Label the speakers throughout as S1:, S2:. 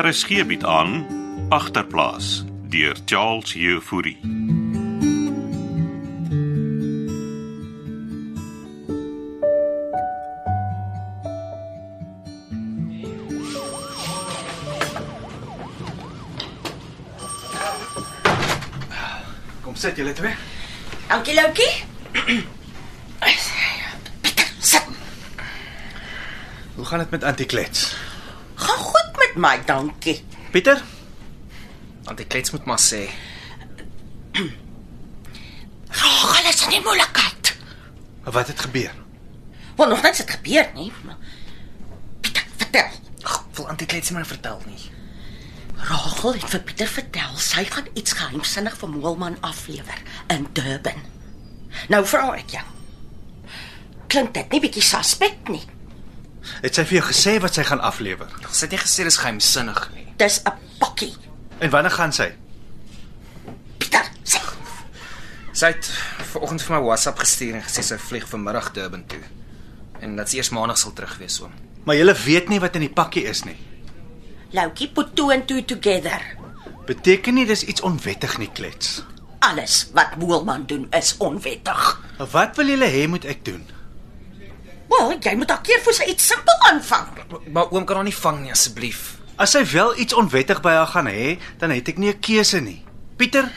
S1: RSG bied aan agterplaas deur Charles Jefouri.
S2: Kom sit julle twee.
S3: Dankie Loukie. Pieter, sit.
S2: Hoe gaan dit met Antiklets?
S3: Gaan goed met my, dankie.
S2: Pieter? Antiklets moet maar sê.
S3: Gaan alles in die moeilikheid.
S2: Wat het gebeur?
S3: Want nog niks het gebeur nie. maar- Pieter, vertel.
S2: Ag, wil Antiklets nie my vertel nie.
S3: Rachel het vir Pieter vertel sy gaan iets geheimsinnig vir Moelman aflewer in Durban. Nou vra ek jou. Klink dit nie bietjie suspek nie?
S2: Het sy vir jou gesê wat sy gaan aflewer?
S4: Sy het nie gesê dis geheimsinnig nie.
S3: Dis 'n pakkie.
S2: En wanneer gaan sy?
S3: Pieter, sê.
S4: Sy het vanoggend vir my WhatsApp gestuur en gesê sy vlieg vanmiddag Durban toe. En dat sy eers maandag sal terug wees oom.
S2: Maar julle weet nie wat in die pakkie is nie.
S3: Loukie put two and two together.
S2: Beteken nie dis iets onwettig nie, Klets.
S3: Alles wat Moelman doen is onwettig.
S2: Wat wil julle hê moet ek doen?
S3: Wel, jy moet dalk eers vir sy iets simpel aanvang.
S4: Maar, maar oom kan haar nie vang nie asseblief.
S2: As sy wel iets onwettig by haar gaan hê, dan het ek nie 'n keuse nie. Pieter,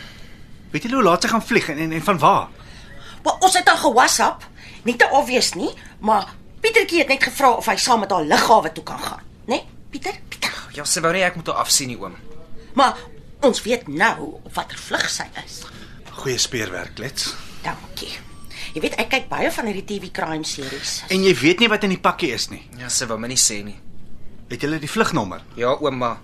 S2: weet julle hoe laat sy gaan vlieg en en, en van waar?
S3: Maar ons het haar ge-WhatsApp, nie te obvious nie, maar Pietertjie het net gevra of hy saam met haar lughawe toe kan gaan, né? Nee? Pieter, Pieter.
S4: Ja, sy wou nie ek moet haar afsien nie oom.
S3: Maar ons weet nou op watter vlug sy is.
S2: Goeie speerwerk, Klets.
S3: Dankie. Jy weet ek kyk baie van hierdie TV crime series.
S2: En jy weet nie wat in die pakkie is nie.
S4: Ja, sy wou my nie sê nie.
S2: Het julle die vlugnommer?
S4: Ja oom, maar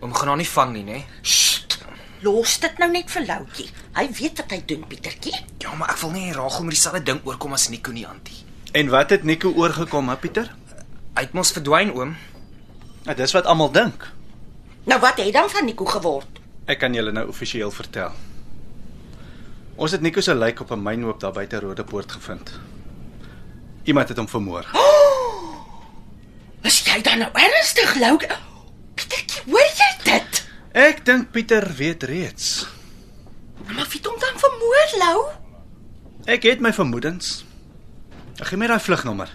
S4: oom gaan haar nie vang nie, nê?
S3: Sst. Los dit nou net vir Loukie. Hy weet wat hy doen, Pietertjie.
S4: Ja, maar ek wil nie hê Rachel met dieselfde ding oorkom as Nico nie, antie.
S2: En wat het Nico oorgekom, hè, Pieter?
S4: Hy het mos verdwyn oom.
S2: Nou, dis wat almal dink.
S3: Nou wat het dan van Nico geword?
S2: Ek kan julle nou amptelik vertel. Ons het Nico se lijk op 'n mynhoop daar buite Rodepoort gevind. Iemand het hom vermoor.
S3: Is jy dan nou ernstig, Loukie? Pietertjie, hoor jy dit?
S2: Ek dink Pieter weet reeds.
S3: Nou, Maar wie het hom dan vermoor, Lou?
S2: Ek het my vermoedens. Ek gee my daai vlugnommer.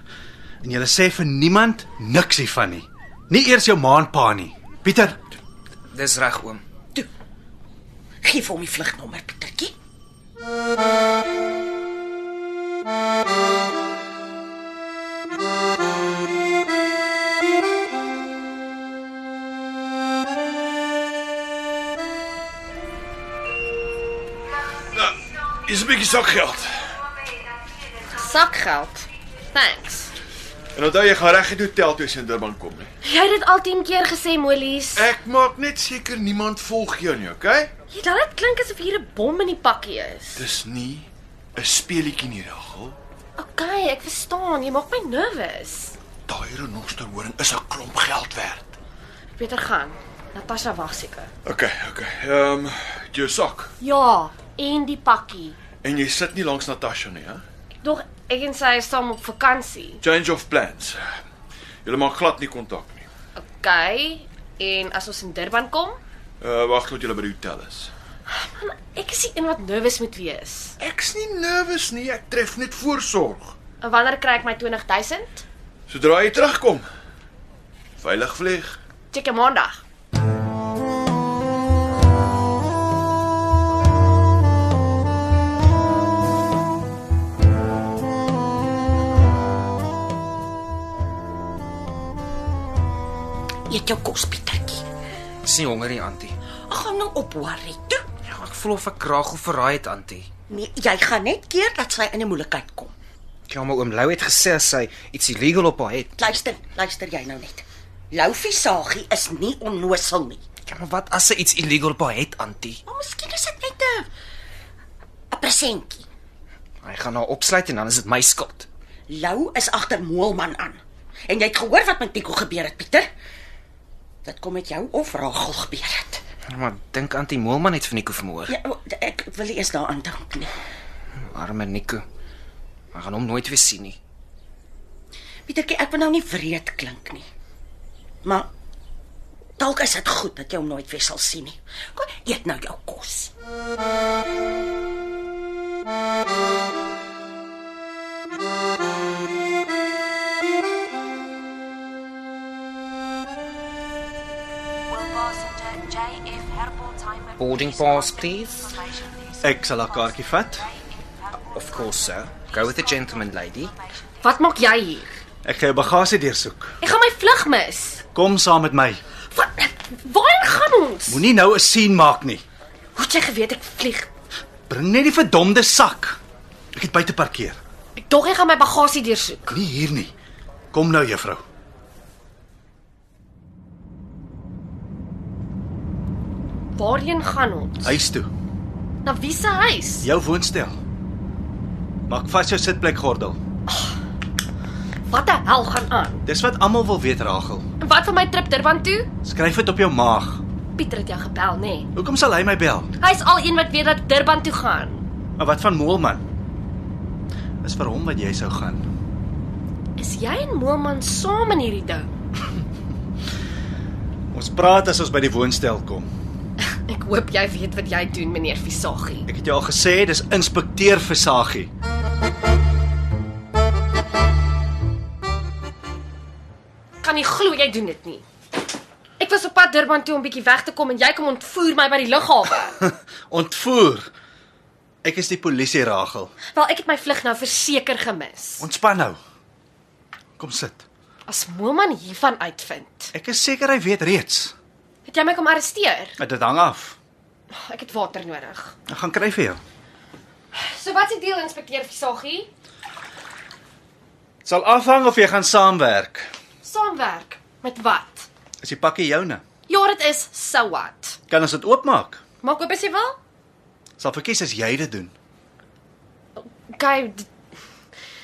S2: En jy sê vir niemand niks hiervan nie. Nie eers jou ma en pa nie. Pieter,
S4: Dis reg oom.
S3: Toe. Geef hom die vlugnommer, Pietertjie.
S5: Nou, Is 'n bietjie sakgeld.
S6: Sakgeld. Thanks.
S5: En onthou jy gaan reg in die hotel toe as jy in Durban kom nie.
S6: Jy het dit al 10 keer gesê, Molies.
S5: Ek maak net seker niemand volg jou nie, okay?
S6: Jy laat dit klink asof hier 'n bom in die pakkie is.
S5: Dis nie 'n speelietjie nie, Ragel.
S6: Okay, ek verstaan. Jy maak my nervus.
S5: Daai renosterhoring is 'n klomp geld werd.
S6: Ek beter gaan. Natasha wag seker.
S5: Okay, okay. Ehm um, jou sak.
S6: Ja, en die pakkie.
S5: En jy sit nie langs Natasha nie, hè?
S6: Dog ek en sy is saam op vakansie.
S5: Change of plans. Jy maak glad nie kontak nie.
S6: Okay. En as ons in Durban kom,
S5: Uh wag tot jy by die hotel is.
S6: man, ek is die een wat nervus moet wees.
S5: Ek's nie nervus nie, ek tref net voorsorg.
S6: En wanneer kry ek my 20000?
S5: Sodra jy terugkom. Veilig vlieg.
S6: Check jou maandag.
S3: Eet jou kos, Pietertjie.
S4: Dis nie honger nie, antie.
S3: Ag, gaan nou op worry toe.
S4: Ja, ek voel of ek Rachel verraai het, antie.
S3: Nee, jy gaan net keer dat sy in 'n moeilikheid kom.
S4: Ja, maar oom Lou het gesê as sy iets illegal op haar het.
S3: Luister, luister jy nou net. Loufie Sagie is nie onnosel nie.
S4: Ja, maar wat as sy iets illegal op haar het, antie?
S3: Maar miskien is dit net 'n 'n presentjie.
S4: Hy gaan haar opsluit en dan is dit my skuld.
S3: Lou is agter Moelman aan. En jy het gehoor wat met Nico gebeur het, Pieter? Dit kom met jou of Rachel gebeur het.
S4: Ja, maar dink Antie Moelman het vir Nico vermoor. Ja.
S3: Ja, o, ek wil nie eers daaraan dink nie.
S4: Arme Nico. Hy gaan hom nooit weer sien nie.
S3: Pietertjie, ek wil nou nie wreed klink nie. Maar Dalk is dit goed dat jy hom nooit weer sal sien nie. Kom, eet nou jou kos.
S7: Will passenger JF Herpel Timer
S4: Boarding pass, please.
S2: Ek sal haar kaartjie vat.
S4: Of course, sir. Go with the gentleman, lady.
S6: Wat maak jy hier?
S2: Ek gaan jou bagasie deursoek.
S6: Ek gaan my vlug mis.
S2: Kom saam met my.
S6: Wat? Waarheen gaan ons?
S2: Moenie nou 'n sien maak nie.
S6: Hoe het jy geweet ek vlieg?
S2: Bring net die verdomde sak. Ek het buite parkeer.
S6: Ek dog ek gaan my bagasie deursoek.
S2: Nie hier nie. Kom nou juffrou.
S6: Waarheen gaan ons?
S2: Huis toe.
S6: Na wie se huis?
S2: Jou woonstel. Maak vas jou sitplekgordel.
S6: Wat die hel gaan aan?
S2: Dis wat almal wil weet, Ragel.
S6: En wat van my trip Durban toe?
S2: Skryf dit op jou maag.
S6: Pieter het jou gebel, nê? Nee.
S2: Hoekom sal hy my bel?
S6: Hy's al een wat weet dat ek Durban toe gaan.
S2: Maar wat van Moelman? Is vir hom wat jy sou gaan.
S6: Is jy en Moelman saam in hierdie ding?
S2: Ons praat as ons by die woonstel kom.
S6: Ek hoop jy weet wat jy doen, meneer Visagie.
S2: Ek het jou al gesê, dis inspekteur Versagie.
S6: Kan nie glo jy doen dit nie. Ek was op pad Durban toe om bietjie weg te kom en jy kom ontvoer my by die lughawe.
S2: Ontvoer. Ek is die polisie, Ragel.
S6: Wel, ek het my vlug nou verseker gemis.
S2: Ontspan nou. Kom sit.
S6: As Moelman hiervan uitvind,
S2: Ek is seker hy weet reeds.
S6: het jy my kom arresteer.
S2: Maar Dit hang af.
S6: Ek het water nodig.
S2: Ek gaan kry vir jou.
S6: So wat se deel inspekteur Visagie?
S2: Dit sal afhang of jy gaan saamwerk.
S6: Saamwerk met wat?
S2: Is die pakkie joune?
S6: Ja, dit is so what.
S2: Kan ons dit oopmaak?
S6: Maak oop as jy wil.
S2: Sal verkies as jy dit doen.
S6: Okay. d-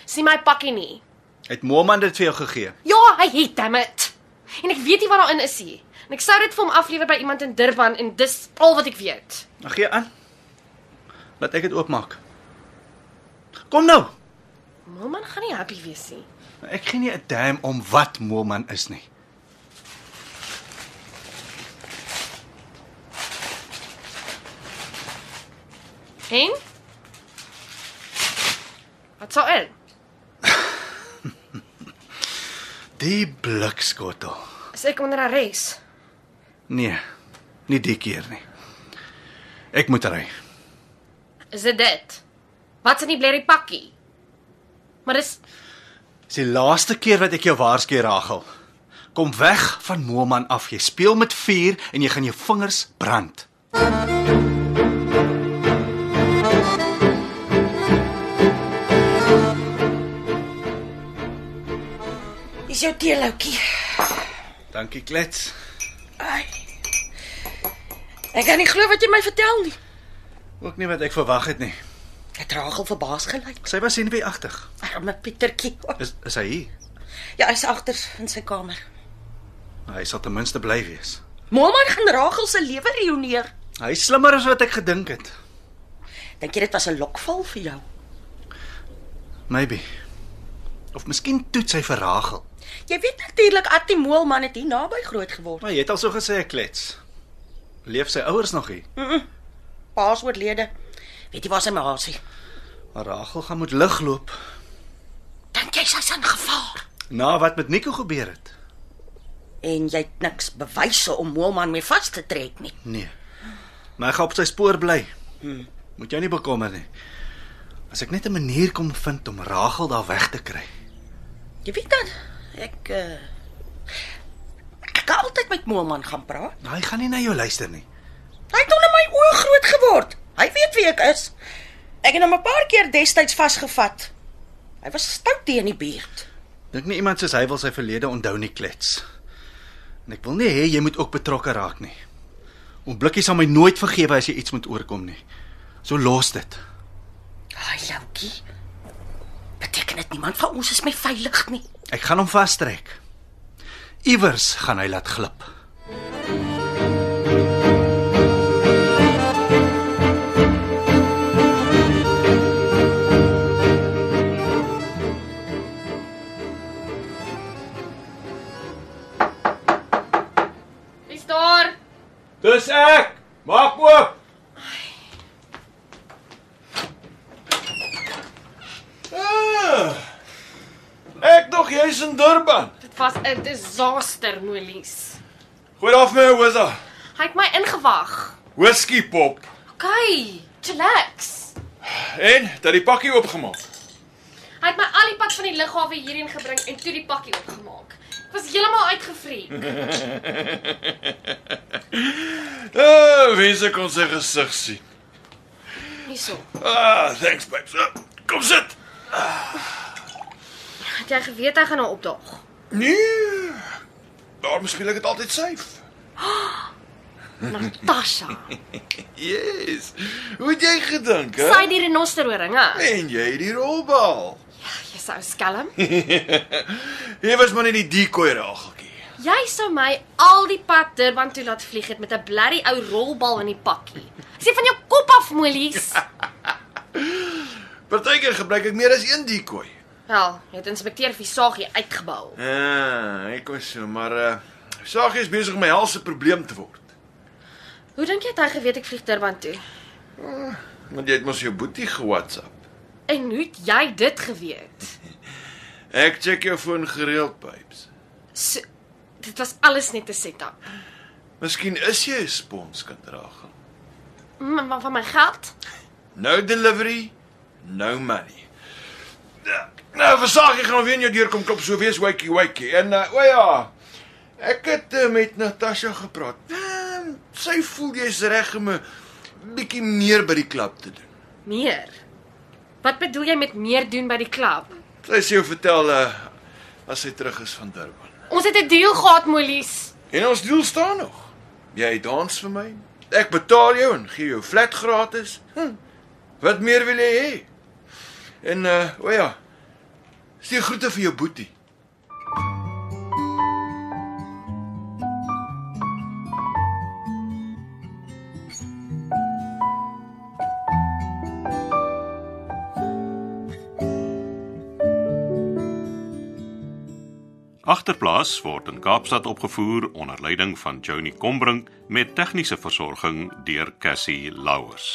S6: Sien my pakkie nie.
S2: Het Moelman dit vir jou gegee?
S6: Ja, hy het, damn it. En ek weet nie wat daarin is nie. En ek sou dit vir hom aflewer by iemand in Durban en dis al wat ek weet.
S2: Dan gee aan. Laat ek dit oopmaak. Kom nou.
S6: Moelman gaan nie happy wees nie.
S2: Ek gee nie 'n damn om wat Moelman is nie.
S6: En? Wat sou in?
S2: Die blikskottel.
S6: Is ek onder arrest?
S2: Nee. Nie die keer nie. Ek moet ry.
S6: Is dit dit? Wat's in die blerrie pakkie? Maar dis
S2: Dis die laaste keer wat ek jou waarsku, Ragel. Kom weg van Moelman af. Jy speel met vuur en jy gaan jou vingers brand.
S3: Dis jou teeloutjie.
S2: Dankie, Klets.
S3: Ai. Ek kan nie glo wat jy my vertel nie.
S2: Ook nie wat ek verwag het nie.
S3: Het Rachel verbaas gelyk.
S2: Sy was senuweeagtig.
S3: Arme Pietertjie.
S2: Is is hy hier?
S3: Ja, hy's agter in sy kamer.
S2: Nou, Hy sal ten minste bly wees.
S3: Moelman gaan Rachel se lewe reoneer.
S2: Hy is slimmer as wat ek gedink het.
S3: Dink jy dit was 'n lokval vir jou?
S2: Maybe. Of miskien toets hy vir Ragel.
S3: Jy weet natuurlik Attie Moelman het hier naby groot geword.
S2: Maar jy het al so gesê, Klets. Leef sy ouers nog hier?
S3: Pa's oorlede. Weet jy waar sy my haasie?
S2: Maar Ragel gaan moet lig loop
S3: Dink jy sy's in gevaar?
S2: na wat met Nico gebeur het.
S3: En jy het niks bewyse om Moelman mee vas te trek nie.
S2: Nee. Maar hy gaan op sy spoor bly. Moet jou nie bekommer nie. As ek net 'n manier kom vind om Ragel daar weg te kry.
S3: Jy weet dan ek uh, ek kan altyd met Moelman gaan praat.
S2: Maar Nou, hy gaan nie na jou luister nie.
S3: Hy het onder my oë groot geword. Hy weet wie ek is. Ek het hom 'n paar keer destyds vasgevat. Hy was stout teen die buurt.
S2: Dink nie iemand soos hy wil sy verlede onthou nie, Klets. En ek wil nie hê jy moet ook betrokke raak nie. Oom Blikkie sal my nooit vergewe as jy iets moet oorkom nie. So los dit.
S3: Ai, Loukie. Beteken dit niemand van ons is my veilig nie.
S2: Ek gaan hom vastrek. Iewers gaan hy laat glip.
S6: Wie's
S8: Dis ek. Maak oop.
S5: Ah, ek dog jy's in Durban.
S6: Dit was 'n disaster, Molies.
S5: Gooi af my hosa.
S6: Hy het my ingewag.
S5: Whisky pop.
S6: OK, chillax.
S5: En dat die pakkie oopgemaak.
S6: Hy het my al die pad van die lughawe hierheen gebring en toe die pakkie oopgemaak. Ek was heeltemal uitgevreek.
S5: Ah, wens ek kon sy gesig sien.
S6: Hierso.
S5: Ah, thanks babes. Ah, Kom sit.
S6: Het jy geweet hy gaan nou opdaag?
S5: Nee. Daarom speel ek dit altyd safe.
S6: Natasha.
S5: Yes. Hoe het jy gedink, hè?
S6: Sy het die renosterhoringe.
S5: En jy het die rolbal.
S6: Jy sou skelm.
S5: Jy was maar net die decoy rageltjie.
S6: Jy sou my al die pad Durban toe laat vlieg het met 'n blerrie ou rolbal in die pakkie. Ek Sê van jou kop af, Molies.
S5: Partykeer gebruik ek meer as een decoy.
S6: Wel, jy het inspekteur Visagie uitgebou.
S5: Ah, ek was so, maar uh Sagie is besig om my helse probleem te word.
S6: Hoe dink jy het hy geweet ek vlieg Durban toe?
S5: Want jy het mos jou boetie ge-WhatsApp.
S6: En hoe het jy dit geweet?
S5: Ek check jou foon gereeld, babes.
S6: So, dit was alles net 'n setup.
S5: Miskien is jy 'n sponskind Ragel.
S6: Mm, Maar van my geld?
S5: No delivery, no money. Nou, versaag jy gaan weer in jou deur kom klop so wees wakey wakey. En uh, o ja, ek het uh, met Natasha gepraat. Uh, sy voel jy's reg om 'n bietjie meer by die klub te doen.
S6: Meer. Wat bedoel jy met meer doen by die klub?
S5: Sy sê jou vertel uh, as sy terug is van Durban.
S6: Ons het 'n deal gehad, Molies.
S5: En ons doel staan nog. Jy dans vir my. Ek betaal jou en gee jou flat gratis. Hm. Wat meer wil jy hê? En uh, o ja, stuur groete vir jou boetie.
S1: Agterplaas word in Kaapstad opgevoer onder leiding van Johnny Combrink met tegniese versorging deur Cassie Louws.